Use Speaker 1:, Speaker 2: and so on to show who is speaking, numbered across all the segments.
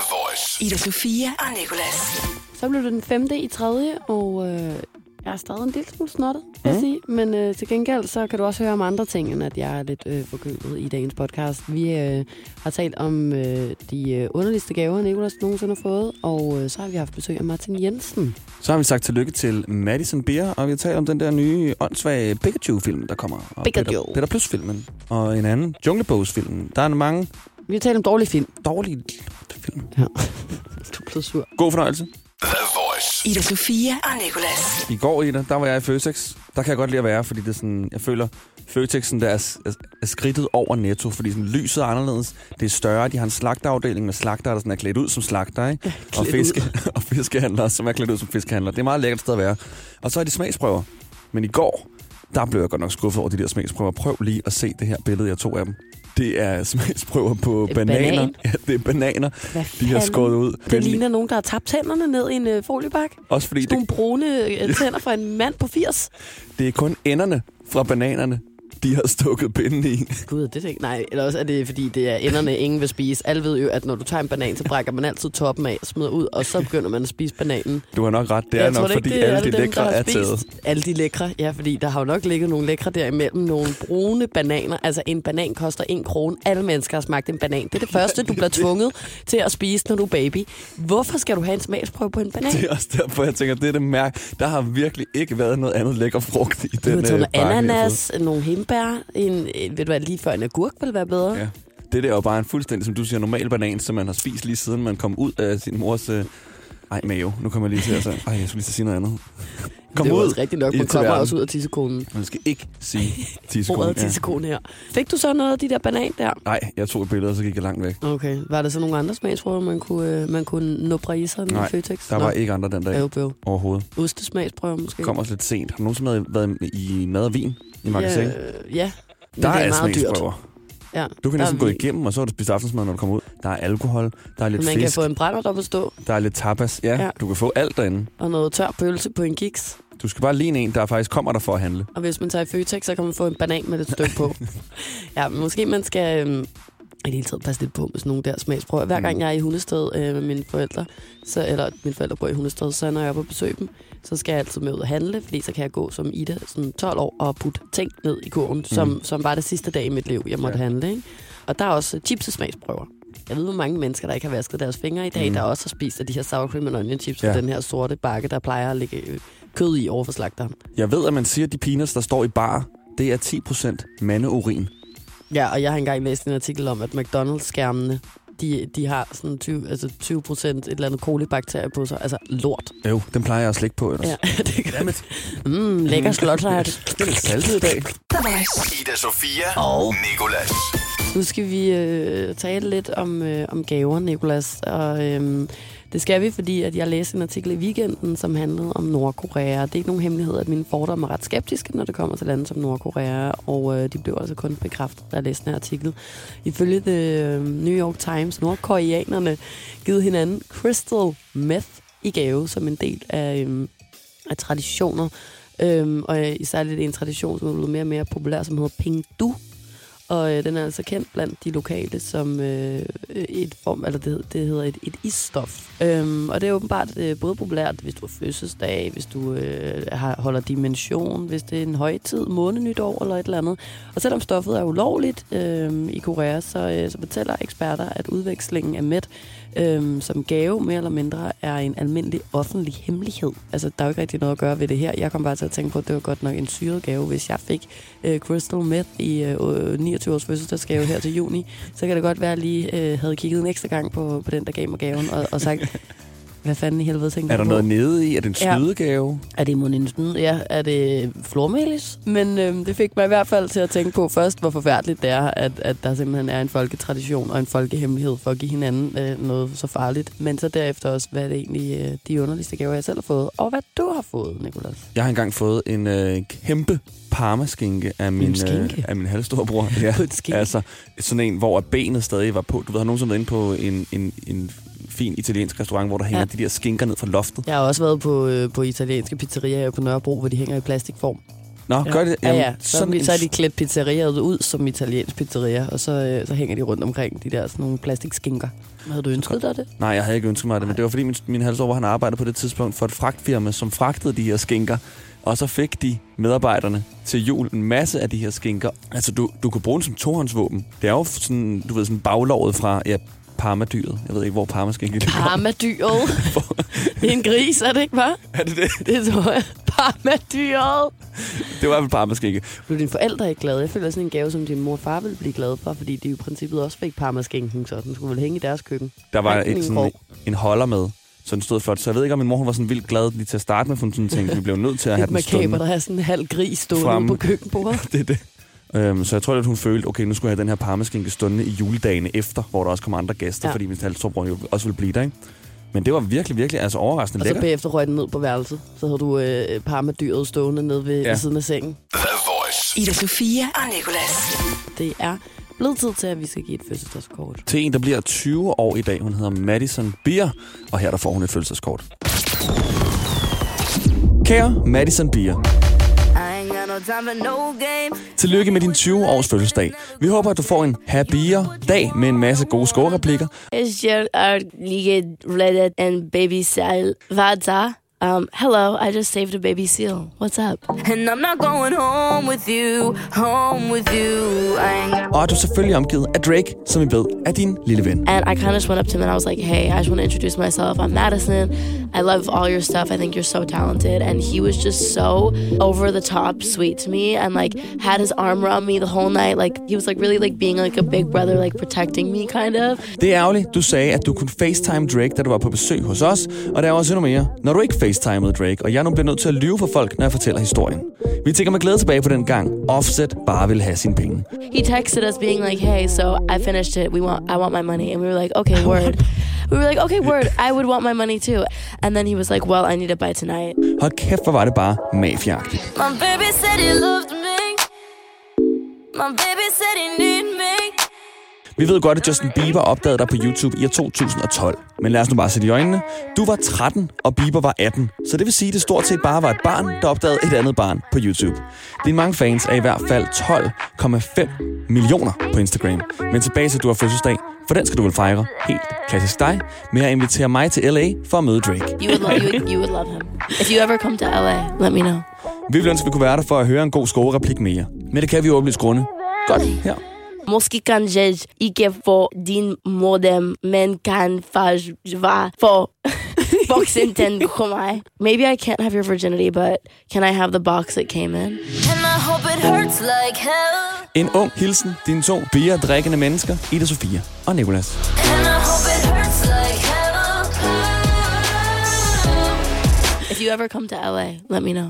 Speaker 1: Nicolas.
Speaker 2: Ida Sofia og Nicolas.
Speaker 3: Så blev det den femte i tredje, og øh, jeg er stadig en lille smule snottet, vil jeg sige. Men øh, til gengæld, så kan du også høre om andre ting, end at jeg er lidt øh, forkølet i dagens podcast. Vi øh, har talt om øh, de øh, underligste gaver, Nicolas nogensinde har fået, og øh, så har vi haft besøg af Martin Jensen.
Speaker 1: Så har vi sagt tillykke til Madison Beer, og vi har talt om den der nye åndssvage Pikachu-film, der kommer. Og
Speaker 3: Pikachu.
Speaker 1: Peter, Peter Plus-filmen. Og en anden, Jungle Boys-filmen. Der er mange
Speaker 3: Vi har talt om dårlig film.
Speaker 1: dårlige film.
Speaker 3: Ja. du blev sur.
Speaker 1: God fornøjelse.
Speaker 2: Ida Sofia og Nicolas.
Speaker 1: I går, Ida, der var jeg i Føtex. Der kan jeg godt lide at være, fordi det er sådan, jeg føler, Føtexen der er, er, er skridtet over netto, fordi sådan, lyset er anderledes. Det er større. De har en slagterafdeling med slagter, der sådan er klædt ud som slagter, ikke? Og,
Speaker 3: klædt ud.
Speaker 1: fiske, og fiskehandlere, som er klædt ud som fiskehandlere. Det er et meget lækkert sted at være. Og så har de smagsprøver. Men i går, der blev jeg godt nok skuffet over de der smagsprøver. Prøv lige at se det her billede, jeg tog af dem. Det er smagsprøver på
Speaker 3: Et banan.
Speaker 1: bananer. Ja, det er bananer,
Speaker 3: Hvad
Speaker 1: de har
Speaker 3: fanden?
Speaker 1: skåret ud.
Speaker 3: Det ligner nogen, der har tabt tænderne ned i en øh, foliebakke.
Speaker 1: Også fordi
Speaker 3: Sådan nogle brune øh, tænder fra en mand på 80.
Speaker 1: Det er kun enderne fra bananerne, de har stukket pinden i.
Speaker 3: Gud, det er ikke... Nej, eller også er det, fordi det er enderne, ingen vil spise. Alle ved jo, at når du tager en banan, så brækker man altid toppen af, smider ud, og så begynder man at spise bananen.
Speaker 1: Du har nok ret. Det er
Speaker 3: Jeg
Speaker 1: nok,
Speaker 3: tror da
Speaker 1: fordi
Speaker 3: det er dem,
Speaker 1: alle de
Speaker 3: der
Speaker 1: lækre
Speaker 3: har
Speaker 1: er taget.
Speaker 3: spist. Alle de lækre, ja, fordi der har jo nok ligget nogle lækre derimellem. Nogle brune bananer. Altså, en banan koster en krone. Alle mennesker har smagt en banan. Det er det første, du bliver tvunget til at spise, når du er baby. Hvorfor skal du have en smagsprøve på en banan?
Speaker 1: Det er også derfor, jeg tænker, det er det mærke. Der har virkelig ikke været noget andet lækker frugt i
Speaker 3: Du har
Speaker 1: den
Speaker 3: taget
Speaker 1: øh,
Speaker 3: noget
Speaker 1: pakke, vi har
Speaker 3: ananas, nogle hindbær, en, øh, ved du hvad, lige før en agurk ville være bedre.
Speaker 1: fået. Ja. Det der er jo bare en fuldstændig, som du siger, normal banan, som man har spist lige siden man kom ud af sin mors... Øh... Ej, mave. Nu kommer jeg lige til at sige... Ej, jeg skulle lige til at sige noget andet. Kom
Speaker 3: det er jo
Speaker 1: ud.
Speaker 3: også rigtigt nok,
Speaker 1: i-
Speaker 3: man
Speaker 1: til
Speaker 3: kommer
Speaker 1: verden.
Speaker 3: også ud af tissekonen.
Speaker 1: Man skal ikke sige tissekonen.
Speaker 3: Ordet tissekone her. Fik du så noget af de der banan der?
Speaker 1: Nej, jeg tog et billede, og så gik jeg langt væk.
Speaker 3: Okay. Var der så nogle andre smagsprøver, man kunne, øh, man kunne nå i sig med
Speaker 1: Nej,
Speaker 3: Føtex?
Speaker 1: Der var ikke andre den dag
Speaker 3: Øv, bøv.
Speaker 1: overhovedet.
Speaker 3: Ostesmagsprøver måske?
Speaker 1: kom også lidt sent. Har du nogensinde været- været i mad og vin i magasin?
Speaker 3: ja,
Speaker 1: Ja,
Speaker 3: øh, ja. Men
Speaker 1: der er,
Speaker 3: det er meget dyrt.
Speaker 1: smagsprøver.
Speaker 3: Ja,
Speaker 1: Du kan
Speaker 3: der
Speaker 1: næsten
Speaker 3: er
Speaker 1: gå
Speaker 3: vin.
Speaker 1: igennem, og så har du spist aftensmad, når du kommer ud. Der er alkohol, der er lidt
Speaker 3: Man kan
Speaker 1: fisk,
Speaker 3: få en brænder op at stå,
Speaker 1: der er lidt tapas. Ja,
Speaker 3: Ja.
Speaker 1: ja, du kan få alt derinde.
Speaker 3: og noget tør pølse på en kiks.
Speaker 1: Du skal bare ligne en, der faktisk kommer dig for at handle.
Speaker 3: Og hvis man tager i Føtex, så kan man få en banan med lidt støv på. ja, men måske man skal... øhm, i det hele taget passe lidt på med sådan nogle der smagsprøver. Hver gang
Speaker 1: Mm.
Speaker 3: jeg er i Hundested øh, med mine forældre, så, eller mine forældre bor i Hundested, så når jeg er på besøg dem, så skal jeg altid med ud og handle, fordi så kan jeg gå som Ida, sådan 12 år, og putte ting ned i kurven, mm. som, som var det sidste dag i mit liv, jeg måtte ja.
Speaker 1: Ja.
Speaker 3: handle. Ikke? Og der er også øh, chips og smagsprøver. Jeg ved, hvor mange mennesker, der ikke har vasket deres fingre i dag, mm. der også har spist af de her sour cream and onion chips, ja. og
Speaker 1: Ja.
Speaker 3: den her sorte bakke, der plejer at ligge øh, kød i over for slagteren.
Speaker 1: Jeg ved, at man siger, at de peanuts, der står i bar, det er 10% mandeurin.
Speaker 3: Ja, og jeg har engang læst en artikel om, at McDonald's-skærmene, de, de har sådan 20, altså 20 procent et eller andet kolibakterier på sig. Altså lort.
Speaker 1: Øv, den plejer jeg at slække på ellers.
Speaker 3: Ja,
Speaker 1: Ja.
Speaker 3: det kan Mm, lækker slotlejt.
Speaker 1: Det er lidt saltet i dag.
Speaker 2: The Voice.
Speaker 4: Ida Sofia
Speaker 3: Og
Speaker 4: Nicolas.
Speaker 3: nu skal vi øh, tale lidt om, øh, om gaver, Nikolas. Og øh, det skal vi, fordi at jeg læste en artikel i weekenden, som handlede om Nordkorea. Det er ikke nogen hemmelighed, at mine fordomme er ret skeptiske, når det kommer til lande som Nordkorea. Og øh, de blev altså kun bekræftet, da jeg læste den her artikel. Ifølge The øh, New York Times, nordkoreanerne givet hinanden crystal meth i gave som en del af... Øh, af traditioner. Øhm, og øh, især lidt en tradition, som er blevet mere og mere populær, som hedder Pingdu. Og øh, den er altså kendt blandt de lokale som øh, et form, eller det, hed- det hedder et, et isstof. Øhm, og det er åbenbart øh, både populært, hvis du har fødselsdag, hvis du øh, har, holder dimension, hvis det er en højtid, måned, nytår eller et eller andet. Og selvom stoffet er ulovligt øh, i Korea, så, øh, så fortæller eksperter, at udvekslingen af mæt øhm, som gave mere eller mindre er en almindelig offentlig hemmelighed. Altså, der er jo ikke rigtig noget at gøre ved det her. Jeg kom bare til at tænke på, at det var godt nok en syret gave. Hvis jeg fik øh, Crystal Meth i øh, 29 års fødselsdagsgave her til juni, så kan det godt være, at jeg lige øh, havde kigget en ekstra gang på, på den, der gav mig gaven, og, og sagt, hvad fanden i helvede tænker
Speaker 1: Er
Speaker 3: du på?
Speaker 1: der noget nede i? Er det en
Speaker 3: Ja.
Speaker 1: snydegave?
Speaker 3: Er det Moninsen? Ja, er det flormelis? Men øhm, det fik mig i hvert fald til at tænke på først, hvor forfærdeligt det er, at, at der simpelthen er en folketradition og en folkehemmelighed for at give hinanden øh, noget så farligt. Men så derefter også, hvad det egentlig øh, de underligste gaver, jeg selv har fået, og hvad du har fået, Nicolas.
Speaker 1: Jeg har engang fået en øh, kæmpe parmaskinke af min,
Speaker 3: skinke?
Speaker 1: øh, af min halvstorbror. Ja.
Speaker 3: På en skinke?
Speaker 1: Altså sådan en, hvor benet stadig var på. Du ved, har du nogensinde været inde på en, en, en fin italiensk restaurant, hvor der hænger
Speaker 3: Ja.
Speaker 1: ja. de der skinker ned fra loftet.
Speaker 3: Jeg har også været på, øh, på italienske pizzerier her på Nørrebro, hvor de hænger i plastikform.
Speaker 1: Nå, gør det.
Speaker 3: Jamen, ja, ja. Så,
Speaker 1: sådan
Speaker 3: sådan
Speaker 1: en
Speaker 3: så er de klædt pizzeriaet ud som italiensk pizzeria, og så, øh, så hænger de rundt omkring de der sådan nogle plastikskinker. Havde du ønsket dig det?
Speaker 1: Nej, jeg havde ikke ønsket mig det, men det var fordi min, min halvsover, han arbejdede på det tidspunkt for et fragtfirma, som fragtede de her skinker. Og så fik de medarbejderne til jul en masse af de her skinker. Altså, du, du kan bruge den som tohåndsvåben. Det er jo sådan, du ved, sådan baglovet fra ja, parmadyret. Jeg ved ikke, hvor parmaskinke det er.
Speaker 3: Parmadyret. det er en gris, er det ikke, hva'?
Speaker 1: Er det det?
Speaker 3: Det tror jeg. Parmadyret.
Speaker 1: Det var i hvert fald parmaskinke.
Speaker 3: Blev dine forældre ikke glade? Jeg føler det er sådan en gave, som din mor og far ville blive glade for, fordi de jo i princippet også fik parmaskinken, så den skulle vel hænge i deres køkken.
Speaker 1: Der var
Speaker 3: Ej, min
Speaker 1: et, sådan,
Speaker 3: krog.
Speaker 1: en holder med, så den stod flot. Så jeg ved ikke, om min mor hun var sådan vildt glad lige til at starte med, for hun sådan tænkte, vi blev nødt til at have
Speaker 3: Lidt
Speaker 1: den stående.
Speaker 3: makabert at have sådan en halv gris stående
Speaker 1: Fremme.
Speaker 3: Frem. på køkkenbordet.
Speaker 1: det er det. Øhm, så jeg tror, at hun følte, okay, nu skulle jeg have den her parmaskinke stående i juledagene efter, hvor der også kom andre gæster, ja.
Speaker 3: Ja.
Speaker 1: fordi min halvstrømbror jo også ville blive der, ikke? Men det var virkelig, virkelig altså overraskende
Speaker 3: Og så
Speaker 1: lækkert.
Speaker 3: bagefter røg den ned på værelset. Så havde du øh, parmadyret stående nede ved,
Speaker 1: Ja.
Speaker 3: ja. ved siden af sengen.
Speaker 2: Ida Sofia og Nicolas.
Speaker 3: Det er blevet tid til, at vi skal give et fødselsdagskort.
Speaker 1: Til en, der bliver 20 år i dag, hun hedder Madison Beer, og her der får hun et følelseskort. Kære Madison Beer, tillykke med din 20-års fødselsdag. Vi håber, at du får en happier dag med en masse gode skoreplikker,
Speaker 4: It's your get related and baby seal. Vada. Um, hello, I just saved a baby seal. What's up?
Speaker 5: And I'm not going home with you, home with you. I ain't
Speaker 1: og at du selvfølgelig er omgivet af Drake, som vi ved er din lille ven.
Speaker 4: And I kind of just went up to him and I was like, hey, I just want to introduce myself. I'm Madison. I love all your stuff. I think you're so talented. And he was just so over the top sweet to me and like had his arm around me the whole night. Like he was like really like being like a big brother, like protecting me kind of.
Speaker 1: Det er ærgerligt, du sagde, at du kunne facetime Drake, da du var på besøg hos os, og der er også endnu mere, når du ikke facetimede Drake, og jeg nu bliver nødt til at lyve for folk, når jeg fortæller historien. Vi tænker med glæde tilbage på den gang, Offset bare ville have sine penge.
Speaker 4: he texted us being like, "Hey, so I finished it. We want I want my money." And we were like, "Okay, word." We were like, "Okay, word. I would want my money too." And then he was like, "Well, I need it by tonight."
Speaker 1: Hold kæft, hvor var det bare mafiagtigt.
Speaker 5: My baby said he loved me. My baby said he needed me.
Speaker 1: Vi ved godt, at Justin Bieber opdagede dig på YouTube i år 2012. Men lad os nu bare sætte i øjnene. Du var 13, og Bieber var 18. Så det vil sige, at det stort set bare var et barn, der opdagede et andet barn på YouTube. Dine mange fans er i hvert fald 12,5 millioner på Instagram. Men tilbage til, at du har fødselsdag, for den skal du vel fejre helt klassisk dig, med at invitere mig til LA for at møde Drake.
Speaker 4: You would love you would, you would love him if you ever come to LA. Let me know.
Speaker 1: Vi ville ønske, at vi kunne være der for at høre en god skolereplik mere. Men det kan vi jo åbenlyst grunde. Godt her.
Speaker 4: Måske kan jeg ikke få din modem, men kan faktisk være for boxen den for mig. Maybe I can't have your virginity, but can I have the box it came in?
Speaker 5: And I hope it hurts like hell.
Speaker 1: En ung hilsen, dine to bier-drikkende mennesker, Ida Sofia og Nicolas.
Speaker 5: And I hope it hurts like hell.
Speaker 4: If you ever come to LA, let me know.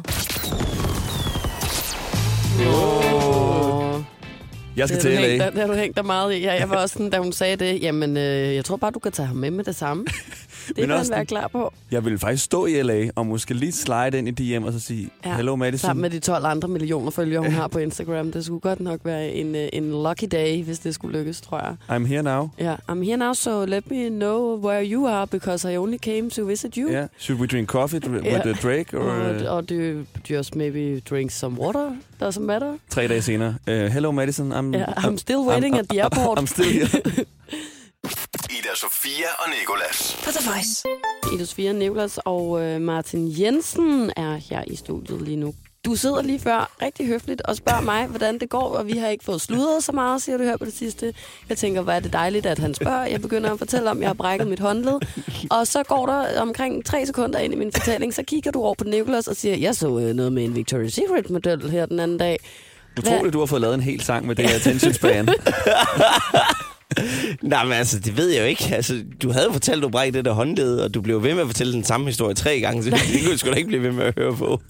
Speaker 1: Jeg skal
Speaker 3: Det har, du
Speaker 1: til
Speaker 3: hængt,
Speaker 1: LA.
Speaker 3: dig- det har du hængt dig meget i. Ja, jeg var også sådan, da hun sagde det, jamen, øh, jeg tror bare, du kan tage ham med med det samme. Det
Speaker 1: Men
Speaker 3: kan han
Speaker 1: også
Speaker 3: være
Speaker 1: den-
Speaker 3: klar på.
Speaker 1: Jeg ville faktisk stå i LA og måske lige slide ind i DM og så sige, ja. hello Madison.
Speaker 3: Sammen med de 12 andre millioner følgere, hun har på Instagram. Det skulle godt nok være en, øh, en lucky day, hvis det skulle lykkes, tror jeg.
Speaker 1: I'm here now.
Speaker 3: Ja, I'm here now, so let me know where you are, because I only came to visit you.
Speaker 1: Yeah. Should we drink coffee dr- with
Speaker 3: Ja.
Speaker 1: uh, Drake? Or,
Speaker 3: Or,
Speaker 1: uh,
Speaker 3: or do you just maybe drink some water? Doesn't matter.
Speaker 1: tre dage senere. Uh, hello Madison, I'm,
Speaker 3: Yeah, I'm still waiting at the airport.
Speaker 1: Mm. I'm still here.
Speaker 6: Ida Sofia og Nikolas.
Speaker 2: På The Voice.
Speaker 3: Ida Sofia Nicolas og øh, Martin Jensen er her i studiet lige nu. Du sidder lige før rigtig høfligt og spørger mig, hvordan det går, og vi har ikke fået sludret så meget, siger du her på det sidste. Jeg tænker, hvor er det dejligt, at han spørger. Jeg begynder at fortælle om, at jeg har brækket mit håndled. Og så går der omkring tre sekunder ind i min fortælling, så kigger du over på Nicolas og siger, jeg så øh, noget med en Victoria's Secret-model her den anden dag.
Speaker 1: Utroligt, du har fået lavet en hel sang med det her attention span.
Speaker 7: Nej, men altså, det ved jeg jo ikke. Altså, du havde fortalt, at du brækkede det der håndled, og du blev ved med at fortælle den samme historie tre gange, så det kunne du sgu da ikke blive ved med at høre på.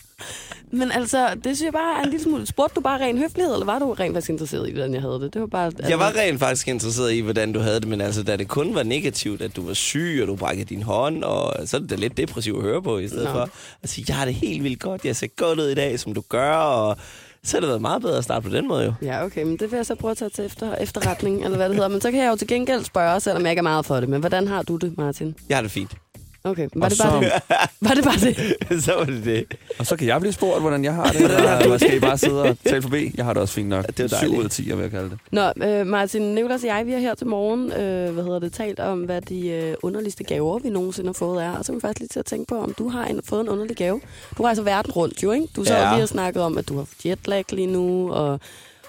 Speaker 3: Men altså, det synes jeg bare er en lille smule... Spurgte du bare ren høflighed, eller var du rent faktisk interesseret i, hvordan jeg havde det? Det var bare... altså,
Speaker 7: Jeg var rent faktisk interesseret i, hvordan du havde det, men altså, da det kun var negativt, at du var syg, og du brækkede din hånd, og så er det da lidt depressivt at høre på i stedet
Speaker 3: Nå.
Speaker 7: Nå. for. Altså, jeg har det helt vildt godt. Jeg ser godt ud i dag, som du gør, og så har det været meget bedre at starte på den måde jo.
Speaker 3: Ja, okay, men det vil jeg så prøve at tage til efter, efterretning, eller hvad det hedder. Men så kan jeg jo til gengæld spørge, selvom jeg ikke er meget for det. Men hvordan har du det, Martin?
Speaker 7: Jeg har det fint.
Speaker 3: Okay, var,
Speaker 1: Og
Speaker 3: det bare
Speaker 1: så-
Speaker 3: det? var det bare det?
Speaker 7: så var det det.
Speaker 1: Og så kan jeg blive spurgt, hvordan jeg har det, eller, eller skal I bare sidde og tale forbi? Jeg har det også fint nok.
Speaker 7: Det er dejligt.
Speaker 1: 7 ud af 10, jeg vil jeg kalde det.
Speaker 3: Nå, øh, Martin, Nicolas og jeg, vi har her til morgen, øh, hvad hedder det, talt om, hvad de øh, underligste gaver, vi nogensinde har fået er. Og så er vi faktisk lige til at tænke på, om du har en, fået en underlig gave. Du rejser verden rundt jo, ikke? Du så
Speaker 7: Ja.
Speaker 3: ja. lige har snakket om, at du har jetlag lige nu, og,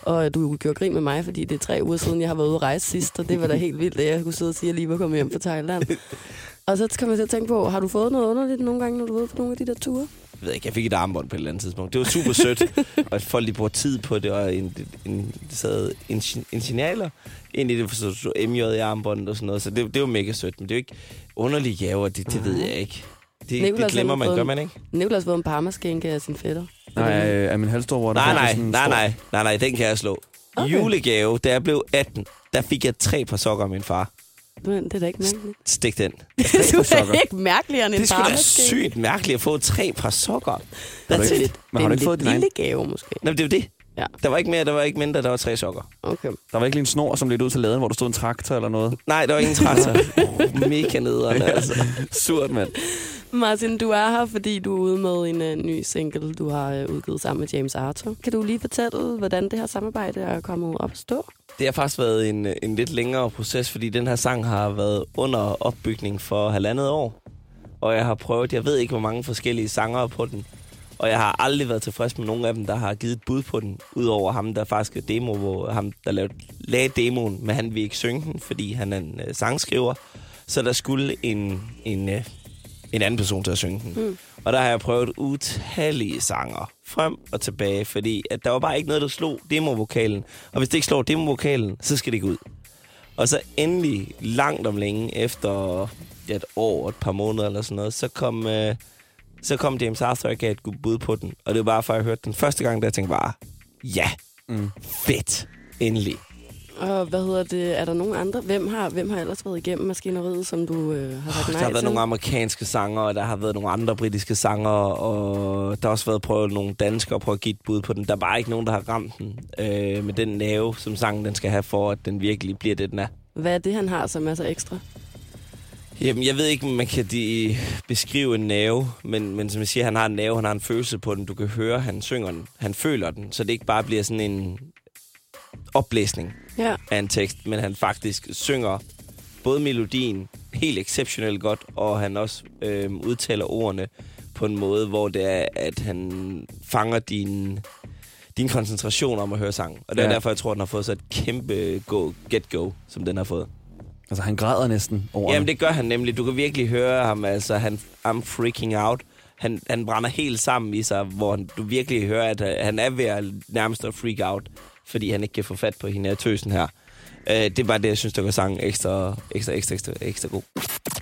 Speaker 3: og du gjorde grin med mig, fordi det er tre uger siden, jeg har været ude at rejse sidst, og det var da helt vildt, at jeg kunne sidde og sige, at jeg lige var kommet hjem fra Thailand. Og så kommer jeg til at tænke på, har du fået noget underligt nogle gange, når du er ude på nogle af de der ture?
Speaker 7: Jeg ved ikke, jeg fik et armbånd på et eller andet tidspunkt. Det var super sødt, og at folk de bruger tid på det, og en, en, det sad ingen- ingenialer ind i det, for så så MJ i armbåndet og sådan noget, så det, det var mega sødt, men det er jo ikke underlige gaver, det, det ved jeg ikke. Det, det
Speaker 3: Mhm. Nicolas
Speaker 7: glemmer
Speaker 3: har
Speaker 7: man,
Speaker 3: fået
Speaker 7: gør
Speaker 3: en-
Speaker 7: man ikke?
Speaker 3: Nicolas har fået en parmaskænke af sin fætter.
Speaker 1: Nej, øh, er min halvstor
Speaker 7: Nej, nej, nej, nej, nej, nej, den kan jeg slå. Okay. Julegave, da jeg blev 18, der fik jeg tre par sokker af min far.
Speaker 3: Men det er da ikke mærkeligt.
Speaker 7: Stik den.
Speaker 3: Det er sgu da
Speaker 1: sokker.
Speaker 3: ikke mærkeligere end en
Speaker 7: Det skulle da
Speaker 3: parmaskænke.
Speaker 7: sygt mærkeligt at få tre par sokker.
Speaker 1: du
Speaker 7: That's
Speaker 1: ikke-
Speaker 7: it.
Speaker 1: Men har
Speaker 3: en
Speaker 1: du ikke fået din
Speaker 3: lidt
Speaker 1: egen?
Speaker 3: lille gave, måske.
Speaker 7: Nå, men det er jo det.
Speaker 3: Ja.
Speaker 7: Der var ikke mere, der var ikke mindre, der var tre sokker.
Speaker 3: Okay.
Speaker 1: Der var ikke lige en snor, som lidt ud til laden, hvor der stod en traktor eller noget.
Speaker 7: Nej, der var ingen traktor. oh, mega nederen, altså.
Speaker 1: Surt, mand.
Speaker 3: Martin, du er her, fordi du er ude med en uh, ny single, du har uh, udgivet sammen med James Arthur. Kan du lige fortælle, hvordan det her samarbejde er kommet op at stå?
Speaker 7: Det har faktisk været en, en lidt længere proces, fordi den her sang har været under opbygning for halvandet år. Og jeg har prøvet, jeg ved ikke, hvor mange forskellige sanger på den. Og jeg har aldrig været tilfreds med nogen af dem, der har givet et bud på den. Udover ham, der faktisk er demo, hvor ham, der lavede, lagde demoen, men han vil ikke synge den, fordi han er en øh, sangskriver. Så der skulle en, en, øh, en anden person til at synge den. Mm. Og der har jeg prøvet utallige sanger frem og tilbage, fordi at der var bare ikke noget, der slog demovokalen. Og hvis det ikke slår demovokalen, så skal det ikke ud. Og så endelig, langt om længe, efter ja, et år, et par måneder eller sådan noget, så kom, øh, så kom James Arthur og gav et godt bud på den. Og det var bare, for jeg hørte den første gang, der jeg tænkte bare, ja, mm. fedt, endelig.
Speaker 3: Og hvad hedder det? Er der nogen andre? Hvem har, hvem har ellers været igennem maskineriet, som du uh, har sagt
Speaker 7: Der
Speaker 3: nej
Speaker 7: har været
Speaker 3: til?
Speaker 7: nogle amerikanske sanger, og der har været nogle andre britiske sanger, og der har også været prøvet nogle danskere på at give et bud på den. Der er bare ikke nogen, der har ramt den øh, med den nerve, som sangen den skal have for, at den virkelig bliver det, den er.
Speaker 3: Hvad er det, han har, som er så ekstra?
Speaker 7: Jamen, jeg ved ikke, om man kan de beskrive en nerve, men, men som jeg siger, han har en nerve, han har en følelse på den. Du kan høre, han synger den, han føler den, så det ikke bare bliver sådan en oplæsning
Speaker 3: Ja.
Speaker 7: af en tekst, men han faktisk synger både melodien helt exceptionelt godt, og han også øh, udtaler ordene på en måde, hvor det er, at han fanger din, din koncentration om at høre sangen. Og det er
Speaker 1: Ja.
Speaker 7: derfor, jeg tror, den har fået så et kæmpe go, get-go, som den har fået.
Speaker 1: Altså, han græder næsten over
Speaker 7: Jamen, det gør han nemlig. Du kan virkelig høre ham. Altså, han, I'm freaking out. Han, han brænder helt sammen i sig, hvor han, du virkelig hører, at øh, han er ved at nærmest at freak out, fordi han ikke kan få fat på hende af tøsen her. Øh, det er bare det, jeg synes, der gør sangen ekstra, ekstra, ekstra, ekstra, ekstra god.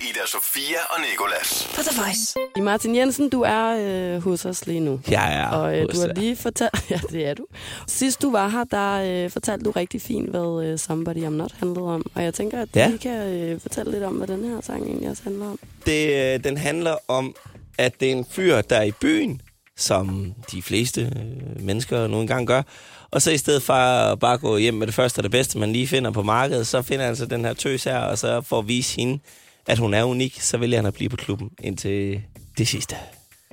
Speaker 6: Ida Sofia og Nikolas.
Speaker 2: På The Voice.
Speaker 3: Martin Jensen, du er øh, hos os lige nu.
Speaker 7: Jeg er
Speaker 3: Og øh,
Speaker 7: hos
Speaker 3: du har
Speaker 7: jer.
Speaker 3: lige fortalt... Ja, det er du. Sidst du var her, der øh, fortalte du rigtig fint, hvad øh, Somebody I'm Not handlede om. Og jeg tænker, at
Speaker 7: Ja.
Speaker 3: ja. vi kan øh, fortælle lidt om, hvad den her sang egentlig også handler om.
Speaker 7: det, øh, den handler om, at det er en fyr, der er i byen, som de fleste øh, mennesker nogle gange gør. Og så i stedet for at bare gå hjem med det første og det bedste, man lige finder på markedet, så finder han så den her tøs her, og så for at vise hende, at hun er unik, så vælger han at blive på klubben indtil det sidste.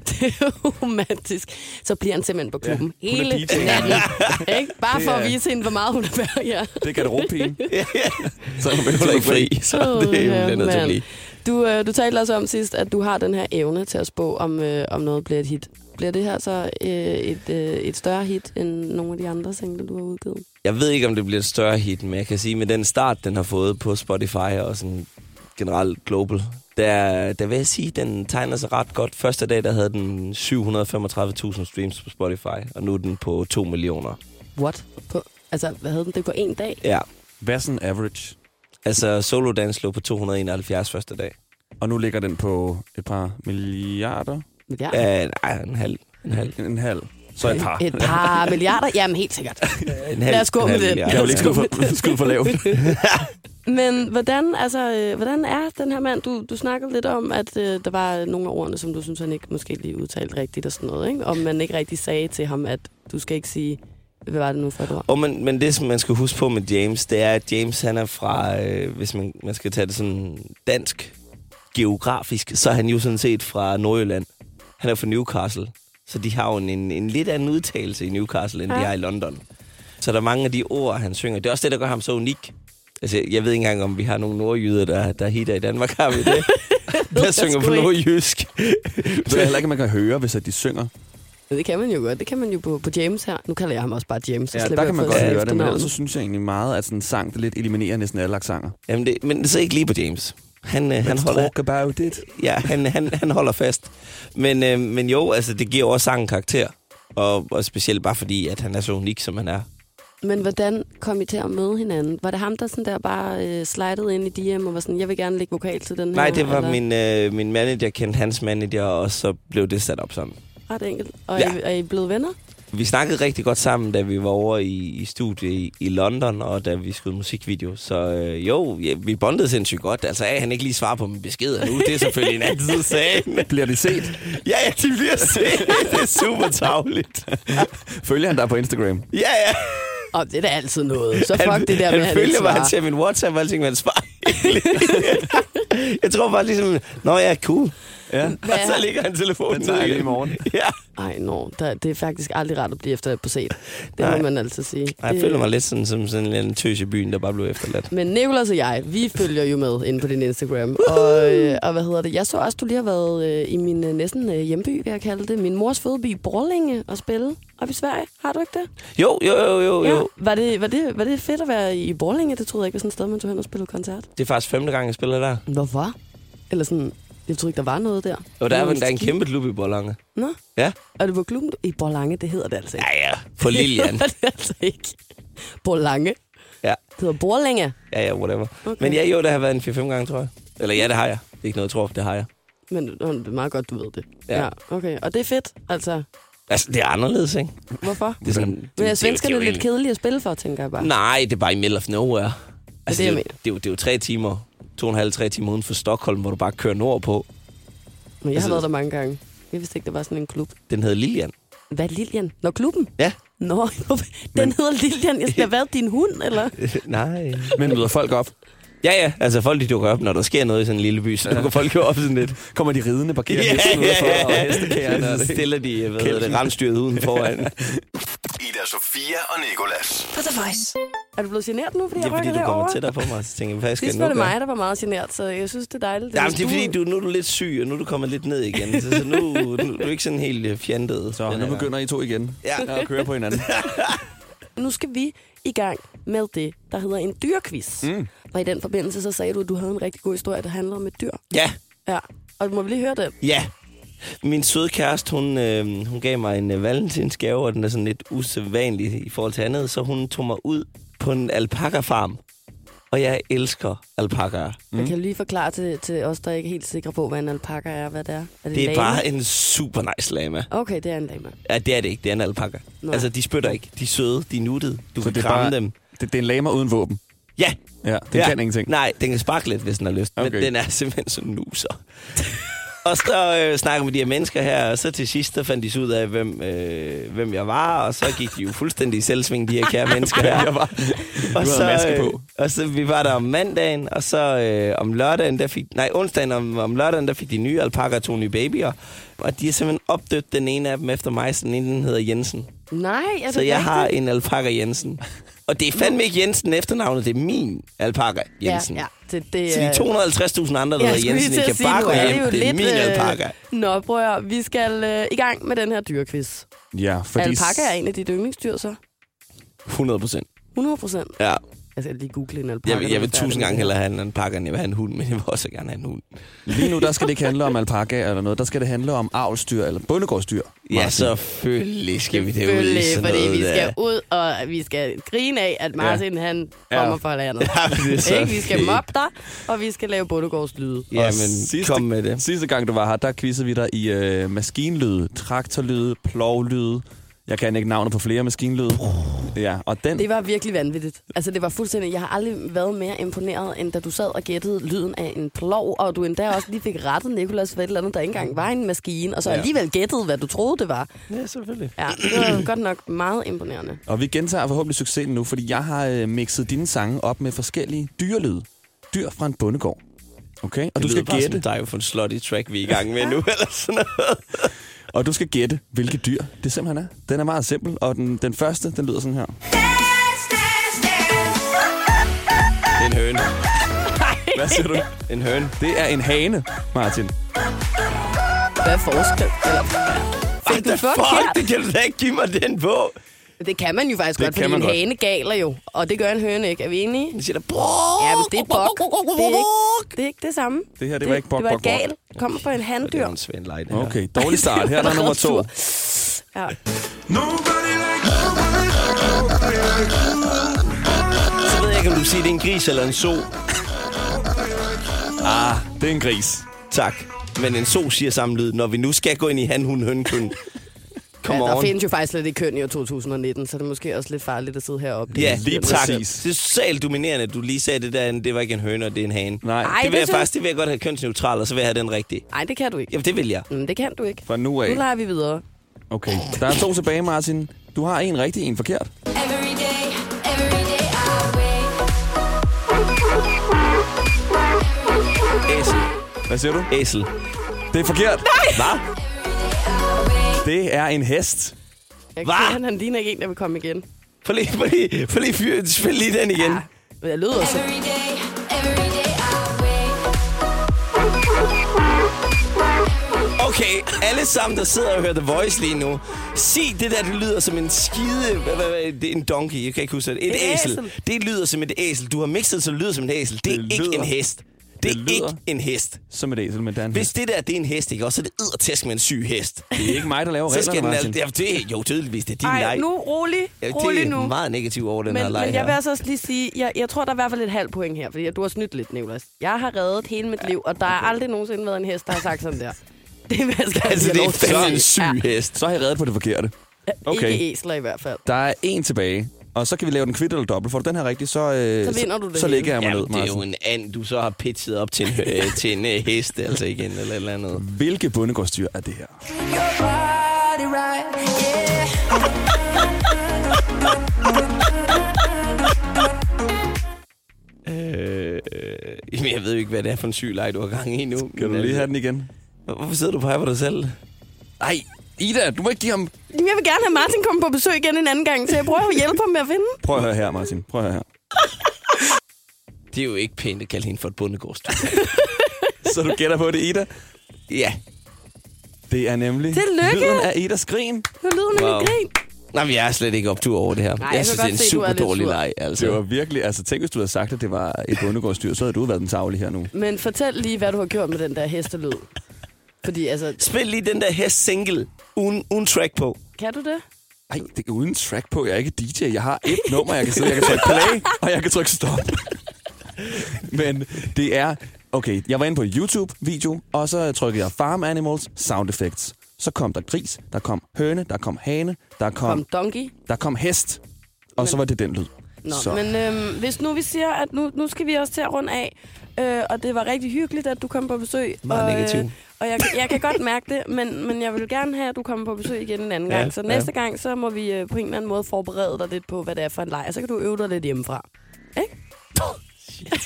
Speaker 3: Det er romantisk. Så bliver han simpelthen på klubben ja, hele
Speaker 1: DJ.
Speaker 3: natten. Ikke? Bare for
Speaker 1: Det er-
Speaker 3: at vise hende, hvor meget hun er værd. Ja.
Speaker 1: Det kan det rumpigen.
Speaker 7: Så er hun heller ikke fri, så det er hun bliver nødt til at
Speaker 3: mand.
Speaker 7: blive.
Speaker 3: Øh, Du, øh, du talte også om sidst, at du har den her evne til at spå, om, øh, om noget bliver et hit. Bliver det her så øh, et, øh, et større hit end nogle af de andre singler, du har udgivet?
Speaker 7: Jeg ved ikke, om det bliver et større hit, men jeg kan sige, med den start, den har fået på Spotify og sådan generelt global, der, der vil jeg sige, den tegner sig ret godt. Første dag, der havde den 735.000 streams på Spotify, og nu er den på 2 millioner.
Speaker 3: What? På, altså, hvad hed den? Det er på en dag?
Speaker 7: Ja,
Speaker 1: Hvad sådan average?
Speaker 7: altså Solo Dance lå på 271 første dag.
Speaker 1: Og nu ligger den på et par milliarder.
Speaker 3: Milliarder?
Speaker 7: Ja, nej, en halv. En halv.
Speaker 1: En, en halv. Så et par.
Speaker 3: Et par milliarder? Jamen, helt sikkert.
Speaker 7: En halv
Speaker 3: Lad os gå
Speaker 7: en
Speaker 3: med
Speaker 7: halv
Speaker 3: den.
Speaker 7: milliard.
Speaker 1: Jeg vil ikke skyde for, skyde for lavt.
Speaker 3: Men hvordan, altså, øh, hvordan er den her mand? Du, du snakkede lidt om, at øh, der var nogle af ordene, som du synes, han ikke måske lige udtalte rigtigt og sådan noget. Ikke? Om man ikke rigtig sagde til ham, at du skal ikke sige, hvad var det nu for et ord?
Speaker 7: Og men, men det, som man skal huske på med James, det er, at James han er fra, øh, hvis man, man skal tage det sådan dansk geografisk, så er han jo sådan set fra Nordjylland. Han er fra Newcastle. Så de har jo en, en, en lidt anden udtalelse i Newcastle, end ja. de har i London. Så der er mange af de ord, han synger. Det er også det, der gør ham så unik. Altså, jeg ved ikke engang, om vi har nogle nordjyder, der, der hitter i Danmark. Har vi det? der synger på
Speaker 3: sgu ikke.
Speaker 7: nordjysk.
Speaker 1: Jeg tror heller ikke, at man kan høre, hvis at de synger.
Speaker 3: Det kan man jo godt. Det kan man jo på, på James her. Nu kalder jeg ham også bare James. så
Speaker 1: Ja,
Speaker 3: slipper
Speaker 1: der
Speaker 3: jeg
Speaker 1: kan man
Speaker 3: for
Speaker 1: godt
Speaker 3: at sige
Speaker 1: høre det, men ellers
Speaker 3: efternavnet.
Speaker 1: så synes jeg egentlig meget, at sådan en sang, der lidt eliminerer næsten alle aksanger.
Speaker 7: Jamen det, men så ikke lige på James. Han, øh, han, holder,
Speaker 1: Talk about it.
Speaker 7: ja, han, han, han holder fast. Men, øh, men jo, altså, det giver jo også sangen karakter. Og, og specielt bare fordi, at han er så unik, som han er.
Speaker 3: Men hvordan kom I til at møde hinanden? Var det ham, der sådan der bare øh, slidede ind i DM og var sådan, jeg vil gerne lægge vokal til den her?
Speaker 7: Nej, det var
Speaker 3: eller?
Speaker 7: min, øh, min manager kendte hans manager, og så blev det sat op sammen.
Speaker 3: Ret enkelt. Og
Speaker 7: Ja.
Speaker 3: ja. er, I, er I blevet venner?
Speaker 7: Vi snakkede rigtig godt sammen, da vi var over i, i studiet i, i London, og da vi skød musikvideo. Så øh, jo, ja, vi bondede sindssygt godt. Altså, at han ikke lige svarer på min besked nu, det er selvfølgelig en anden side af sagen.
Speaker 1: Bliver det set?
Speaker 7: Ja, ja, de bliver set. Det er super tavligt.
Speaker 1: Følger han dig på Instagram?
Speaker 7: Ja, ja.
Speaker 3: Og det er da altid noget. Så fuck det der med, at
Speaker 7: han
Speaker 3: han ikke
Speaker 7: følger mig,
Speaker 3: svarer.
Speaker 7: han ser min WhatsApp og alting, men han svarer ikke. Jeg tror bare ligesom, nå ja, cool.
Speaker 1: Ja.
Speaker 7: Og så ligger han telefonen
Speaker 1: Den tager jeg
Speaker 7: ned
Speaker 1: lige
Speaker 7: igen.
Speaker 1: i morgen.
Speaker 7: Ja.
Speaker 3: Ej, no, der, det er faktisk aldrig rart at blive efter på set. Det
Speaker 7: Nej.
Speaker 3: må man altid sige.
Speaker 7: Ej, Jeg
Speaker 3: Det-
Speaker 7: føler mig lidt sådan, som sådan en eller anden tøs i byen, der bare blev efterladt.
Speaker 3: Men Nicolas og jeg, vi følger jo med inde på din Instagram. Og, øh, og hvad hedder det? Jeg så også, du lige har været øh, i min øh, næsten øh, hjemby, vil jeg kalde det. Min mors fødeby, Borlinge, og spille op i Sverige. Har du ikke det?
Speaker 7: Jo, jo, jo, jo, jo.
Speaker 3: Var det, var, det, var det fedt at være i Borlinge? Det troede jeg ikke var sådan et sted, man tog hen og spillede koncert.
Speaker 7: Det er faktisk femte gang, jeg spiller der.
Speaker 3: Hvorfor? Eller sådan, jeg troede ikke, der var noget der.
Speaker 7: Og der er, der er en kæmpe klub i Bollange.
Speaker 3: Nå,
Speaker 7: Ja.
Speaker 3: og det var klubben i Borlange, det hedder det altså ikke.
Speaker 7: Ja, ja. På Lilian.
Speaker 3: det er det altså ikke. Borlange.
Speaker 7: Ja.
Speaker 3: Det hedder Borlinge.
Speaker 7: Ja, ja, whatever.
Speaker 3: Okay.
Speaker 7: Okay. Men ja, jo, det har været en 4-5 gange, tror jeg. Eller ja, det har jeg. Det er ikke noget, jeg tror, det har jeg.
Speaker 3: Men øh, det er meget godt, du ved det.
Speaker 7: Ja.
Speaker 3: okay. Og det er fedt, altså.
Speaker 7: Altså, det er anderledes, ikke?
Speaker 3: Hvorfor?
Speaker 7: Det er sådan,
Speaker 3: Men er
Speaker 7: det- det jo
Speaker 3: svenskerne lidt
Speaker 7: egentlig-
Speaker 3: kedelige at spille for, tænker jeg bare.
Speaker 7: Nej, det er bare i middle of nowhere.
Speaker 3: det,
Speaker 7: Altså, det,
Speaker 3: jeg
Speaker 7: er jo,
Speaker 3: mener.
Speaker 7: det, er jo, det er jo tre timer, to og en halv, tre timer uden for Stockholm, hvor du bare kører nordpå.
Speaker 3: Men jeg har
Speaker 7: altså-
Speaker 3: været der mange gange. Jeg vidste ikke, der var sådan en klub.
Speaker 7: Den hedder Lilian.
Speaker 3: Hvad er Lilian? Nå, klubben?
Speaker 7: Ja.
Speaker 3: Nå, den Men... hedder Lilian. Jeg skal have været din hund, eller?
Speaker 7: Nej.
Speaker 1: Men møder folk op.
Speaker 7: Ja, ja. Altså, folk de dukker op, når der sker noget i sådan en lille by, så dukker ja. folk jo op sådan lidt.
Speaker 1: Kommer de ridende, parkerer yeah, hesten udenfor, yeah, og hestekærerne. og
Speaker 7: yeah. Så
Speaker 1: det hele.
Speaker 7: stiller de, hvad hedder det, ramstyret uden foran.
Speaker 6: Ida Sofia og Nikolas.
Speaker 2: På The Voice.
Speaker 3: Er du blevet generet nu, fordi
Speaker 7: Det
Speaker 3: jeg
Speaker 7: er fordi,
Speaker 3: rykker
Speaker 7: du
Speaker 3: derovre?
Speaker 7: kommer tættere på mig, så tænker jeg, hvad skal jeg
Speaker 3: Sidst
Speaker 7: nu
Speaker 3: var det
Speaker 7: gøre?
Speaker 3: mig, der var meget generet, så jeg synes, det er dejligt.
Speaker 7: Jamen,
Speaker 3: hvis
Speaker 7: det er fordi, du, nu er du lidt syg, og nu er du kommet lidt ned igen. Så, så nu, nu du er ikke sådan helt øh, fjantet.
Speaker 1: Så
Speaker 7: den her
Speaker 1: nu
Speaker 7: gang.
Speaker 1: begynder I to igen.
Speaker 7: Ja.
Speaker 1: Og kører på hinanden.
Speaker 3: Nu skal vi i gang med det, der hedder en dyrquiz. Mm. Og i den forbindelse, så sagde du, at du havde en rigtig god historie, der handlede om et dyr.
Speaker 7: Ja,
Speaker 3: Ja, og må vi lige høre den?
Speaker 7: ja. Min søde kæreste, hun, øh, hun gav mig en øh, valentinsgave, og den er sådan lidt usædvanlig i forhold til andet, så hun tog mig ud på en alpaka-farm. Og jeg elsker alpakaer.
Speaker 3: Mm. Jeg kan lige forklare til, til os, der ikke er helt sikre på, hvad en alpaka er, hvad det er. Er det,
Speaker 7: Det
Speaker 3: en
Speaker 7: er
Speaker 3: lama?
Speaker 7: bare en super nice lama.
Speaker 3: Okay, det er en lama.
Speaker 7: Ja, det er det ikke. Det er en alpaka.
Speaker 3: Nå.
Speaker 7: Altså, de spytter ikke. De er søde. De er nuttede. Du
Speaker 1: Så
Speaker 7: kan
Speaker 1: det er
Speaker 7: kramme
Speaker 1: bare-
Speaker 7: dem.
Speaker 1: Det, det er en lamer uden våben.
Speaker 7: Ja,
Speaker 1: Ja, det ja. kan ingenting.
Speaker 7: Nej, den kan sparke lidt, hvis den har lyst. Okay.
Speaker 1: Okay.
Speaker 7: Men den er simpelthen sådan en nuser. og så øh, snakker vi med de her mennesker her, og så til sidst, så fandt de så ud af, hvem, øh, hvem jeg var, og så gik de jo fuldstændig i selvsving, de her kære mennesker her. jeg var. Og øh,
Speaker 1: havde maske på.
Speaker 7: og så vi var der om mandagen, og så øh, om lørdagen, der fik, nej, onsdagen om, om lørdagen, der fik de nye alpakker to nye babyer. Og de er simpelthen opdøbt den ene af dem efter mig, så den ene den hedder Jensen.
Speaker 3: Nej, er det
Speaker 7: Så jeg
Speaker 3: rigtigt?
Speaker 7: har en alpaka Jensen. Og det er fandme ikke Jensen efternavnet, det er min alpaka Jensen.
Speaker 3: Ja, ja. Det, det,
Speaker 7: Så
Speaker 3: er-
Speaker 7: de 250.000 andre, der
Speaker 3: Jeg
Speaker 7: hedder
Speaker 3: skulle lige
Speaker 7: Jensen,
Speaker 3: til
Speaker 7: I
Speaker 3: at
Speaker 7: kan
Speaker 3: sige,
Speaker 7: bare
Speaker 3: nu
Speaker 7: gå
Speaker 3: er det
Speaker 7: hjem.
Speaker 3: jo
Speaker 7: Det, er
Speaker 3: lidt,
Speaker 7: min
Speaker 3: øh,
Speaker 7: alpaka.
Speaker 3: Nå, bror, vi skal øh, i gang med den her dyrquiz.
Speaker 1: Ja, fordi...
Speaker 3: Alpaka er en af dit yndlingsdyr, så?
Speaker 7: 100 procent.
Speaker 3: 100 procent.
Speaker 7: Ja.
Speaker 3: Jeg skal lige google en alpaka.
Speaker 7: Jeg, vil- jeg vil
Speaker 3: når vi er
Speaker 7: tusind
Speaker 3: færdige.
Speaker 7: gange hellere have en alpaka, end jeg vil have en hund, men jeg vil også gerne have en hund.
Speaker 1: Lige nu, der skal det ikke handle om alpaka eller noget. Der skal det handle om avlsdyr eller bondegårdsdyr.
Speaker 7: Ja, selvfølgelig skal vi det ud i
Speaker 3: Selvfølgelig,
Speaker 7: sådan
Speaker 3: fordi
Speaker 7: noget.
Speaker 3: vi skal
Speaker 7: der.
Speaker 3: ud, og vi skal grine af, at Martin, ja. han
Speaker 1: Ja.
Speaker 3: kommer fra landet.
Speaker 7: Ja, det er så
Speaker 3: Ikke? Vi skal
Speaker 7: fedt.
Speaker 3: mobbe dig, og vi skal lave bondegårdslyde.
Speaker 7: Ja,
Speaker 1: Og
Speaker 7: men
Speaker 1: sidste-
Speaker 7: kom med det.
Speaker 1: Sidste gang, du var her, der quizzede vi dig i øh, maskinlyde, traktorlyde, plovlyde. Jeg kan ikke navnet på flere maskinlyde. Ja, og den...
Speaker 3: Det var virkelig vanvittigt. Altså, det var fuldstændig... Jeg har aldrig været mere imponeret, end da du sad og gættede lyden af en plov, og du endda også lige fik rettet Nikolas for et eller andet, der ikke engang var en maskine, og så alligevel gættede, hvad du troede, det var.
Speaker 7: Ja, selvfølgelig.
Speaker 3: Ja, det var godt nok meget imponerende.
Speaker 1: Og vi gentager forhåbentlig succesen nu, fordi jeg har øh, mixet dine sange op med forskellige dyrelyde. Dyr fra en bondegård. Okay, og
Speaker 7: Det
Speaker 1: du skal
Speaker 7: lyder bare
Speaker 1: gætte,
Speaker 7: Som dig for en slutty track, vi er i gang med nu, eller sådan noget.
Speaker 1: og du skal gætte, hvilket dyr det simpelthen er. Den er meget simpel, og den, den første, den lyder sådan her.
Speaker 7: Det er en høne.
Speaker 1: Hvad siger du?
Speaker 7: En høne.
Speaker 1: Det er en hane, Martin.
Speaker 3: Hvad er forskel? Eller, fik du
Speaker 7: Fuck,
Speaker 3: forkert?
Speaker 7: det kan du da ikke give mig den på.
Speaker 3: Det kan man jo faktisk
Speaker 1: Det
Speaker 3: godt,
Speaker 1: kan
Speaker 3: fordi
Speaker 1: man
Speaker 3: en
Speaker 1: godt.
Speaker 3: hane galer jo. Og det gør en høne ikke. Er vi enige?
Speaker 7: Den siger da...
Speaker 3: Ja, men det er bok. Det er ikke det, er ikke det samme.
Speaker 1: Det her, det var ikke bok,
Speaker 3: Det var
Speaker 1: bok,
Speaker 3: et
Speaker 1: bok.
Speaker 3: gal. Kommer fra en
Speaker 7: Det
Speaker 3: handdyr.
Speaker 7: er en svend leg, det her.
Speaker 1: Okay, dårlig start. Her er der nummer to.
Speaker 3: Ja.
Speaker 7: Så ved jeg ikke, om du siger, det er en gris eller en so.
Speaker 1: Det er en gris.
Speaker 7: Tak. Men en so siger samme lyd, når vi nu skal gå ind i han, hun, høn, kun. Come
Speaker 3: ja, der
Speaker 7: on.
Speaker 3: findes jo faktisk slet ikke køn i år 2019, så det er måske også lidt farligt at sidde heroppe.
Speaker 7: Ja,
Speaker 1: Lige
Speaker 7: lige tak.
Speaker 1: præcis.
Speaker 7: Det er socialt dominerende, at du lige sagde det der, det var ikke en høne, og det er en hane.
Speaker 1: Nej. Ej,
Speaker 7: det
Speaker 3: det
Speaker 7: vil jeg
Speaker 3: synes-
Speaker 7: faktisk, det vil jeg godt have kønsneutral, og så vil jeg have den rigtige.
Speaker 3: Nej, det kan du ikke.
Speaker 7: Jamen, det vil jeg.
Speaker 3: Mm, det kan du ikke.
Speaker 1: Fra nu
Speaker 3: Nu
Speaker 1: af.
Speaker 3: leger vi videre.
Speaker 1: Okay, der er to tilbage, Martin. Du har en rigtig, en forkert.
Speaker 5: Every day, every day I wake.
Speaker 7: Æsel.
Speaker 1: Hvad siger du?
Speaker 7: Æsel.
Speaker 1: Det er forkert.
Speaker 7: Hvad?
Speaker 1: Det er en hest.
Speaker 3: Jeg
Speaker 7: Hva?
Speaker 3: kan se, at han ligner ikke en, der vil komme igen. Ah,
Speaker 7: Prøv lige, prøv lige, prøv lige, fyr- spil lige den igen.
Speaker 3: Men jeg lyder så.
Speaker 5: Every day, every day I wake.
Speaker 7: Okay, alle sammen, der sidder og hører The Voice lige nu, sig det der, det lyder som en skide... Hvad, hvad, hvad, det er en donkey, jeg kan ikke huske det. Et,
Speaker 3: Et
Speaker 7: æsel.
Speaker 3: æsel.
Speaker 7: Det lyder som et æsel. Du har mixet, så det lyder som en æsel. Det er
Speaker 1: Det
Speaker 7: ikke
Speaker 1: lyder-
Speaker 7: en hest. Det,
Speaker 1: det
Speaker 7: er
Speaker 1: lyder-
Speaker 7: ikke en hest.
Speaker 1: Som et æsel, men det er en
Speaker 7: Hvis
Speaker 1: hest.
Speaker 7: det der, det er en hest, ikke også? Så er det ydertæsk med en syg hest.
Speaker 1: Det er ikke mig, der laver
Speaker 7: Så skal
Speaker 1: reglerne,
Speaker 7: den
Speaker 1: Martin.
Speaker 7: altså... Ja, det, jo, tydeligvis, det er din
Speaker 3: Ej,
Speaker 7: leg.
Speaker 3: nu rolig.
Speaker 7: Ja, det
Speaker 3: Rolig
Speaker 7: er
Speaker 3: nu.
Speaker 7: meget negativ over den her
Speaker 3: Men,
Speaker 7: leg
Speaker 3: men jeg vil
Speaker 7: her.
Speaker 3: altså også lige sige, jeg, jeg tror, der er i hvert fald et halvt point her, fordi du har snydt lidt, Nicolas. Jeg har reddet hele mit liv, og der har aldrig nogensinde været en hest, der har sagt sådan der. Det vil jeg skal
Speaker 7: Altså, det er fandme en syg hest.
Speaker 1: Så har jeg reddet på det forkerte.
Speaker 3: Okay.
Speaker 1: Okay.
Speaker 3: Ikke æsler i hvert fald.
Speaker 1: Der er en tilbage, og så kan vi lave den kvitt eller dobbelt. Får du den her rigtig, så, øh,
Speaker 3: Så vinder du det
Speaker 1: så
Speaker 3: hele.
Speaker 1: lægger jeg mig
Speaker 7: Jamen,
Speaker 1: ned,
Speaker 7: det er
Speaker 1: Martin.
Speaker 7: jo en and, du så har pitchet op til en, øh, til en øh, hest, altså igen, eller et eller andet.
Speaker 1: Hvilke bundegårdsdyr er det her?
Speaker 7: Øh, jamen, jeg ved jo ikke, hvad det er for en syg leg, du har gang i nu.
Speaker 1: Kan
Speaker 7: men
Speaker 1: du lige
Speaker 7: altså,
Speaker 1: have den igen?
Speaker 7: Hvorfor sidder du på her på dig selv?
Speaker 1: Nej, Ida, du må ikke give ham...
Speaker 3: Jamen, jeg vil gerne have Martin komme på besøg igen en anden gang, så jeg prøver at hjælpe ham med at finde.
Speaker 1: Prøv at høre her, Martin. Prøv at høre her.
Speaker 7: Det er jo ikke pænt at kalde hende for et bundegårdsdyr.
Speaker 1: Så du gætter på det, Ida.
Speaker 7: ja.
Speaker 1: Det er nemlig
Speaker 3: Tillykke!
Speaker 1: lyden af Idas grin.
Speaker 3: Nu lyder wow.
Speaker 7: Wow.
Speaker 3: mit grin.
Speaker 7: Nej, men jeg er slet ikke optur over det her.
Speaker 3: jeg
Speaker 7: jeg
Speaker 3: kan
Speaker 7: synes, det
Speaker 3: godt
Speaker 7: er en
Speaker 3: se, du er
Speaker 7: super
Speaker 3: lidt
Speaker 7: dårlig
Speaker 3: sur.
Speaker 7: leg, altså.
Speaker 1: Det var virkelig... Altså, tænk, hvis du havde sagt, at det var et bundegårdsdyr, så havde du været den tavle her nu.
Speaker 3: Men fortæl lige, hvad du har gjort med den der hestelyd. Fordi altså,
Speaker 7: Spil lige den der hest single, uden, uden track på.
Speaker 3: kan du det?
Speaker 1: Ej, det er uden track på. Jeg er ikke DJ. Jeg har et nummer, jeg kan sidde. Jeg kan trykke play, og jeg kan trykke stop. Men det er... Okay, jeg var inde på YouTube-video, og så trykkede jeg Farm Animals Sound Effects. Så kom der gris, der kom høne, der kom hane, der kom,
Speaker 3: Om donkey?
Speaker 1: der kom hest. Og så var det den lyd.
Speaker 3: Nå,
Speaker 1: så.
Speaker 3: men øhm, hvis nu vi siger, at nu, nu skal vi også til at runde af, øh, og det var rigtig hyggeligt, at du kom på besøg.
Speaker 7: Meget
Speaker 3: og, øh,
Speaker 7: negativ.
Speaker 3: og jeg, jeg kan godt mærke det, men, men jeg vil gerne have, at du kommer på besøg igen en anden
Speaker 7: Ja,
Speaker 3: ja, gang. Så
Speaker 7: ja.
Speaker 3: næste gang, så må vi øh, på en eller anden måde forberede dig lidt på, hvad det er for en leg, og så kan du øve dig lidt hjemmefra. Ikke?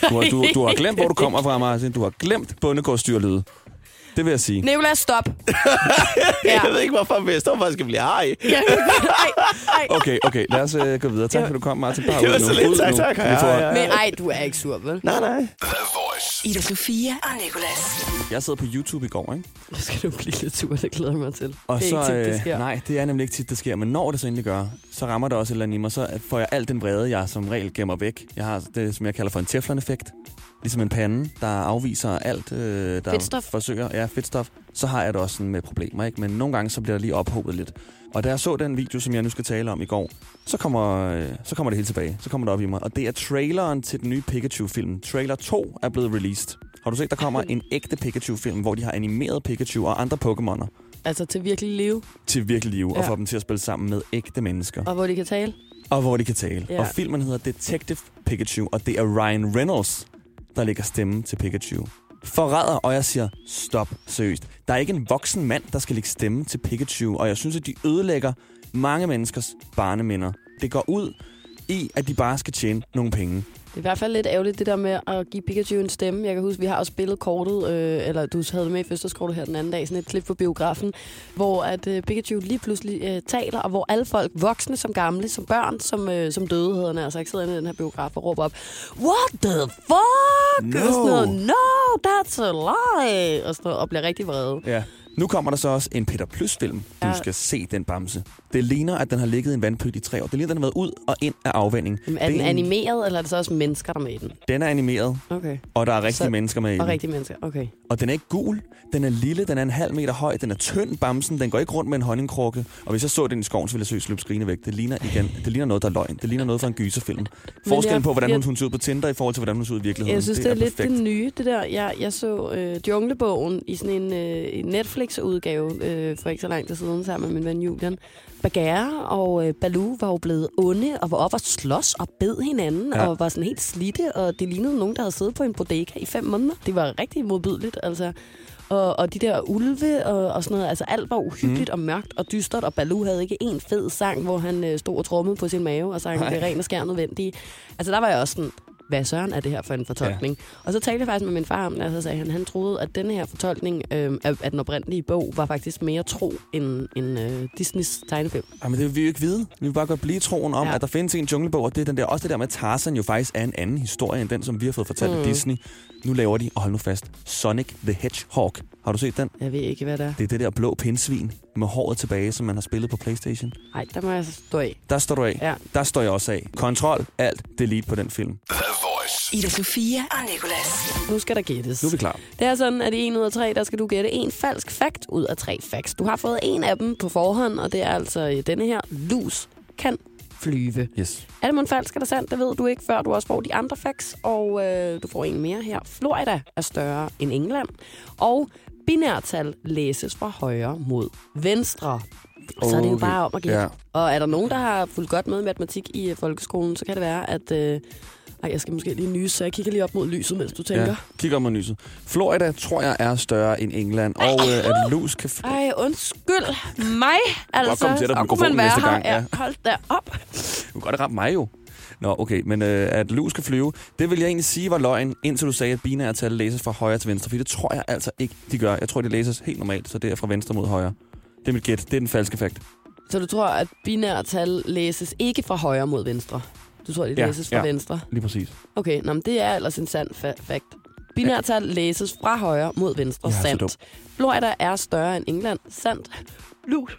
Speaker 1: Du, har- du, du har glemt, hvor du kommer fra, Martin. Du har glemt bundegårdsdyrlyde. Det vil jeg sige.
Speaker 3: Nicolas, stop! ja.
Speaker 7: Jeg ved ikke, hvorfor, men jeg står faktisk og bliver arg.
Speaker 3: Ja, ej, ej.
Speaker 1: Okay, okay. Lad os øh, gå videre. Tak, fordi du kom, Martin. Bare
Speaker 7: Det var
Speaker 1: ud nu.
Speaker 7: så lidt.
Speaker 1: Ud
Speaker 7: Tak,
Speaker 1: nu.
Speaker 7: tak.
Speaker 1: Vi
Speaker 7: Ja,
Speaker 1: får-
Speaker 7: ja, ja.
Speaker 3: Men ej, du er ikke sur, vel?
Speaker 7: Nej, nej.
Speaker 6: The Voice.
Speaker 2: Ida Sofia og Nicolas.
Speaker 1: Jeg sidder på YouTube i går, ikke?
Speaker 3: Nu skal du blive lidt sur, det glæder jeg mig til.
Speaker 1: Og
Speaker 3: det er
Speaker 1: så,
Speaker 3: ikke tit, det
Speaker 1: øh,
Speaker 3: sker.
Speaker 1: Nej, det er nemlig ikke tit, det sker. Men når det så endelig gør, så rammer der også et eller andet i mig. Så får jeg alt den vrede, jeg som regel gemmer væk. Jeg har det, som jeg kalder for en teflon-effekt. Ligesom en pande, der afviser alt, øh, der
Speaker 3: Fedtstof.
Speaker 1: forsøger. Ja, fedtstof. Så har jeg det også sådan med problemer, ikke? Men nogle gange, så bliver der lige ophobet lidt. Og da jeg så den video, som jeg nu skal tale om i går, så kommer, øh, så kommer det hele tilbage. Så kommer det op i mig. Og det er traileren til den nye Pikachu-film. Trailer 2 er blevet released. Har du set, der kommer en ægte Pikachu-film, hvor de har animeret Pikachu og andre Pokémoner
Speaker 3: Altså til virkelig liv,
Speaker 1: til virkelig liv, ja. og
Speaker 3: Ja.
Speaker 1: får dem til at spille sammen med ægte mennesker.
Speaker 3: og hvor de kan tale.
Speaker 1: Og hvor de kan tale. Ja.
Speaker 3: Ja.
Speaker 1: Og filmen hedder Detective Pikachu, og det er Ryan Reynolds, der lægger stemme til Pikachu. Forræder, og jeg siger, stop, seriøst. Der er ikke en voksen mand, der skal lægge stemme til Pikachu, og jeg synes, at de ødelægger mange menneskers barneminder. Det går ud i, at de bare skal tjene nogle penge.
Speaker 3: Det er i hvert fald lidt ærgerligt, det der med at give Pikachu en stemme. Jeg kan huske, vi har også spillet kortet, øh, eller du havde det med i fødselskortet her den anden dag, sådan et klip på biografen, hvor at øh, Pikachu lige pludselig øh, taler, og hvor alle folk, voksne som gamle, som børn, som, øh, som døde, hedder den altså, ikke sidder inde i den her biograf og råber op, What the fuck?
Speaker 1: No.
Speaker 3: Og sådan noget, no, that's a lie! Og, sådan noget, og bliver rigtig vrede.
Speaker 1: Ja. Nu kommer der så også en Peter Plys-film. Du
Speaker 3: Ja.
Speaker 1: skal se den bamse. Det ligner, at den har ligget i en vandpyt i tre år. Det ligner, at den har været ud og ind af afvænding.
Speaker 3: Jamen, Er
Speaker 1: Det
Speaker 3: den
Speaker 1: en-
Speaker 3: animeret, eller er det så også mennesker, der er med i den?
Speaker 1: Den er animeret,
Speaker 3: Okay.
Speaker 1: og der er rigtige
Speaker 3: Så-
Speaker 1: mennesker med i
Speaker 3: Og
Speaker 1: den.
Speaker 3: rigtige mennesker, okay.
Speaker 1: Og den er ikke gul, den er lille, den er en halv meter høj, den er tynd, bamsen, den går ikke rundt med en honningkrukke. Og hvis jeg så den i skoven, så ville jeg søge slup skrine væk. Det ligner, igen, det ligner noget, der er løgn. Det ligner noget fra en gyserfilm. Forskellen
Speaker 3: jeg-
Speaker 1: på, hvordan hun,
Speaker 3: jeg-
Speaker 1: hun ser ud på Tinder i forhold til, hvordan hun ser ud i virkeligheden.
Speaker 3: Jeg synes, det er, lidt
Speaker 1: perfekt.
Speaker 3: det nye, det der. Jeg, jeg så øh, Junglebogen i sådan en øh, en Netflix-udgave øh, for ikke så lang tid siden sammen med min ven Julian. Bagheera og øh, Baloo var jo blevet onde og var oppe og slås og bed hinanden
Speaker 1: Ja.
Speaker 3: ja. og var sådan helt slidte, og det lignede nogen, der havde siddet på en bodega i fem måneder. Det var rigtig modbydeligt, altså. Og, og de der ulve og, og sådan noget, altså alt var uhyggeligt mm. og mørkt og dystert, og Baloo havde ikke en fed sang, hvor han øh, stod og trommede på sin mave og sang,
Speaker 1: Nej.
Speaker 3: det er ren og skær nødvendige. Altså der var jeg også sådan, hvad søren er det her for en fortolkning? Ja. Og så talte jeg faktisk med min far om det, og så sagde han, han troede, at den her fortolkning øh, af, af den oprindelige bog var faktisk mere tro end, end øh, Disneys tegnefilm.
Speaker 1: Jamen, det vil vi jo ikke vide. Vi vil bare godt blive i troen om, ja.
Speaker 3: Ja.
Speaker 1: at der findes en junglebog, og det er den der, også det der med, at Tarzan jo faktisk er en anden historie, end den, som vi har fået fortalt mm. af
Speaker 3: Mm.
Speaker 1: Disney. Nu laver de, og hold nu fast, Sonic the Hedgehog. Har du set den?
Speaker 3: Jeg ved ikke, hvad det er.
Speaker 1: Det er det der blå pindsvin med håret tilbage, som man har spillet på Playstation.
Speaker 3: Nej, der må jeg så stå af.
Speaker 1: Der står du af.
Speaker 3: Ja.
Speaker 1: Der står jeg også af. Kontrol, alt, delete på den film.
Speaker 6: The Voice.
Speaker 2: Ida Sofia og Nicolas.
Speaker 3: Nu skal der gættes.
Speaker 1: Nu er vi klar.
Speaker 3: Det er sådan, at i en ud af tre, der skal du gætte en falsk fakt ud af tre facts. Du har fået en af dem på forhånd, og det er altså øh, denne her. Lus kan flyve.
Speaker 1: Yes.
Speaker 3: Er det mon falsk eller sandt? Det ved du ikke, før du også får de andre facts. Og øh, du får en mere her. Florida er større end England. Og binærtal læses fra højre mod venstre. Så er det jo
Speaker 1: Okay.
Speaker 3: bare om at gætte.
Speaker 1: Ja.
Speaker 3: Ja. Og er der nogen, der har fulgt godt med i matematik i øh, folkeskolen, så kan det være, at... Øh, ej, jeg skal måske lige nyse, så jeg kigger lige op mod lyset, mens du tænker.
Speaker 1: Ja. Kig om og nyset. Florida tror jeg er større end England, og øh, at lus kan... F-
Speaker 3: Ej, undskyld mig. Altså,
Speaker 1: komme tættere på
Speaker 3: så kunne man
Speaker 1: mikrofonen
Speaker 3: være
Speaker 1: næste
Speaker 3: her.
Speaker 1: gang, ja.
Speaker 3: Ja. Hold da op.
Speaker 1: Du kan godt ramme mig jo. Nå, okay, men øh, at lus kan flyve, det vil jeg egentlig sige var løgn, indtil du sagde, at binære tal læses fra højre til venstre, for det tror jeg altså ikke, de gør. Jeg tror, de læses helt normalt, så det er fra venstre mod højre. Det er mit gæt. Det er den falske fakt.
Speaker 3: Så du tror, at binære tal læses ikke fra højre mod venstre? Du tror, det
Speaker 1: Ja,
Speaker 3: læses fra
Speaker 1: ja.
Speaker 3: venstre?
Speaker 1: Lige præcis.
Speaker 3: Okay, nå, men det er ellers en sand fa- fact. Binærtal læses fra højre mod venstre.
Speaker 1: Jeg er så dum.
Speaker 3: sandt. Florida er større end England. Sandt. Lus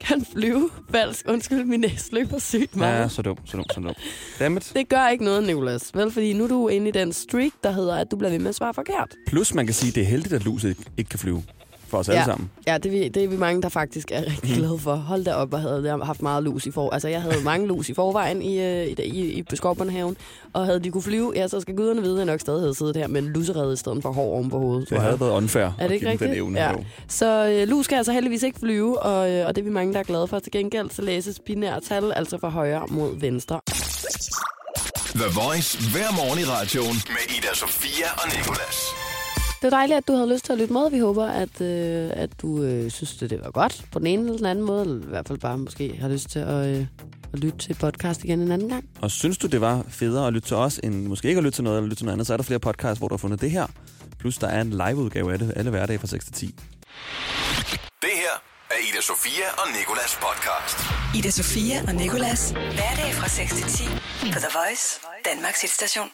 Speaker 3: kan flyve. Falsk. Undskyld, min næse løber sygt meget.
Speaker 1: Ja, så dum, så dum, så dum. Dammit.
Speaker 3: Det gør ikke noget, Nicolas. Vel, fordi nu er du inde i den streak, der hedder, at du bliver ved med at svare forkert.
Speaker 1: Plus, man kan sige, det er heldigt, at luset ikke- ikke kan flyve. For os alle sammen.
Speaker 3: Ja, det er, vi, det er vi mange, der faktisk er rigtig
Speaker 1: Mm.
Speaker 3: glade for. Hold da op, og havde jeg haft meget lus i for. Altså, jeg havde mange lus i forvejen i, øh, i, i, i Skovbåndhaven, og havde de kunne flyve, ja, så skal guderne vide, at jeg nok stadig havde siddet her med en lusserede i stedet for hår oven på hovedet. tror
Speaker 1: Det
Speaker 3: jeg.
Speaker 1: havde været unfair
Speaker 3: Er det ikke rigtigt?
Speaker 1: den evne.
Speaker 3: ja.
Speaker 1: dog.
Speaker 3: Så øh, lus skal altså heldigvis ikke flyve, og, øh, og det er vi mange, der er glade for. Til gengæld så læses binære tal, altså fra højre mod venstre.
Speaker 6: The Voice hver morgen i radioen med Ida Sofia og Nicolas.
Speaker 3: Det er dejligt, at du havde lyst til at lytte med. Vi håber, at, øh, at du øh, synes, at det var godt på den ene eller den anden måde. Eller i hvert fald bare måske har lyst til at, øh, at lytte til podcast igen en anden gang.
Speaker 1: Og synes du, det var federe at lytte til os, end måske ikke at lytte til noget, eller lytte til noget andet, så er der flere podcasts, hvor du har fundet det her. Plus, der er en liveudgave af det alle hverdage fra 6 til 10.
Speaker 6: Det her er Ida Sofia og Nicolas podcast.
Speaker 2: Ida Sofia og Nicolas. Hverdag fra 6 til 10 på The Voice, Danmarks hitstation.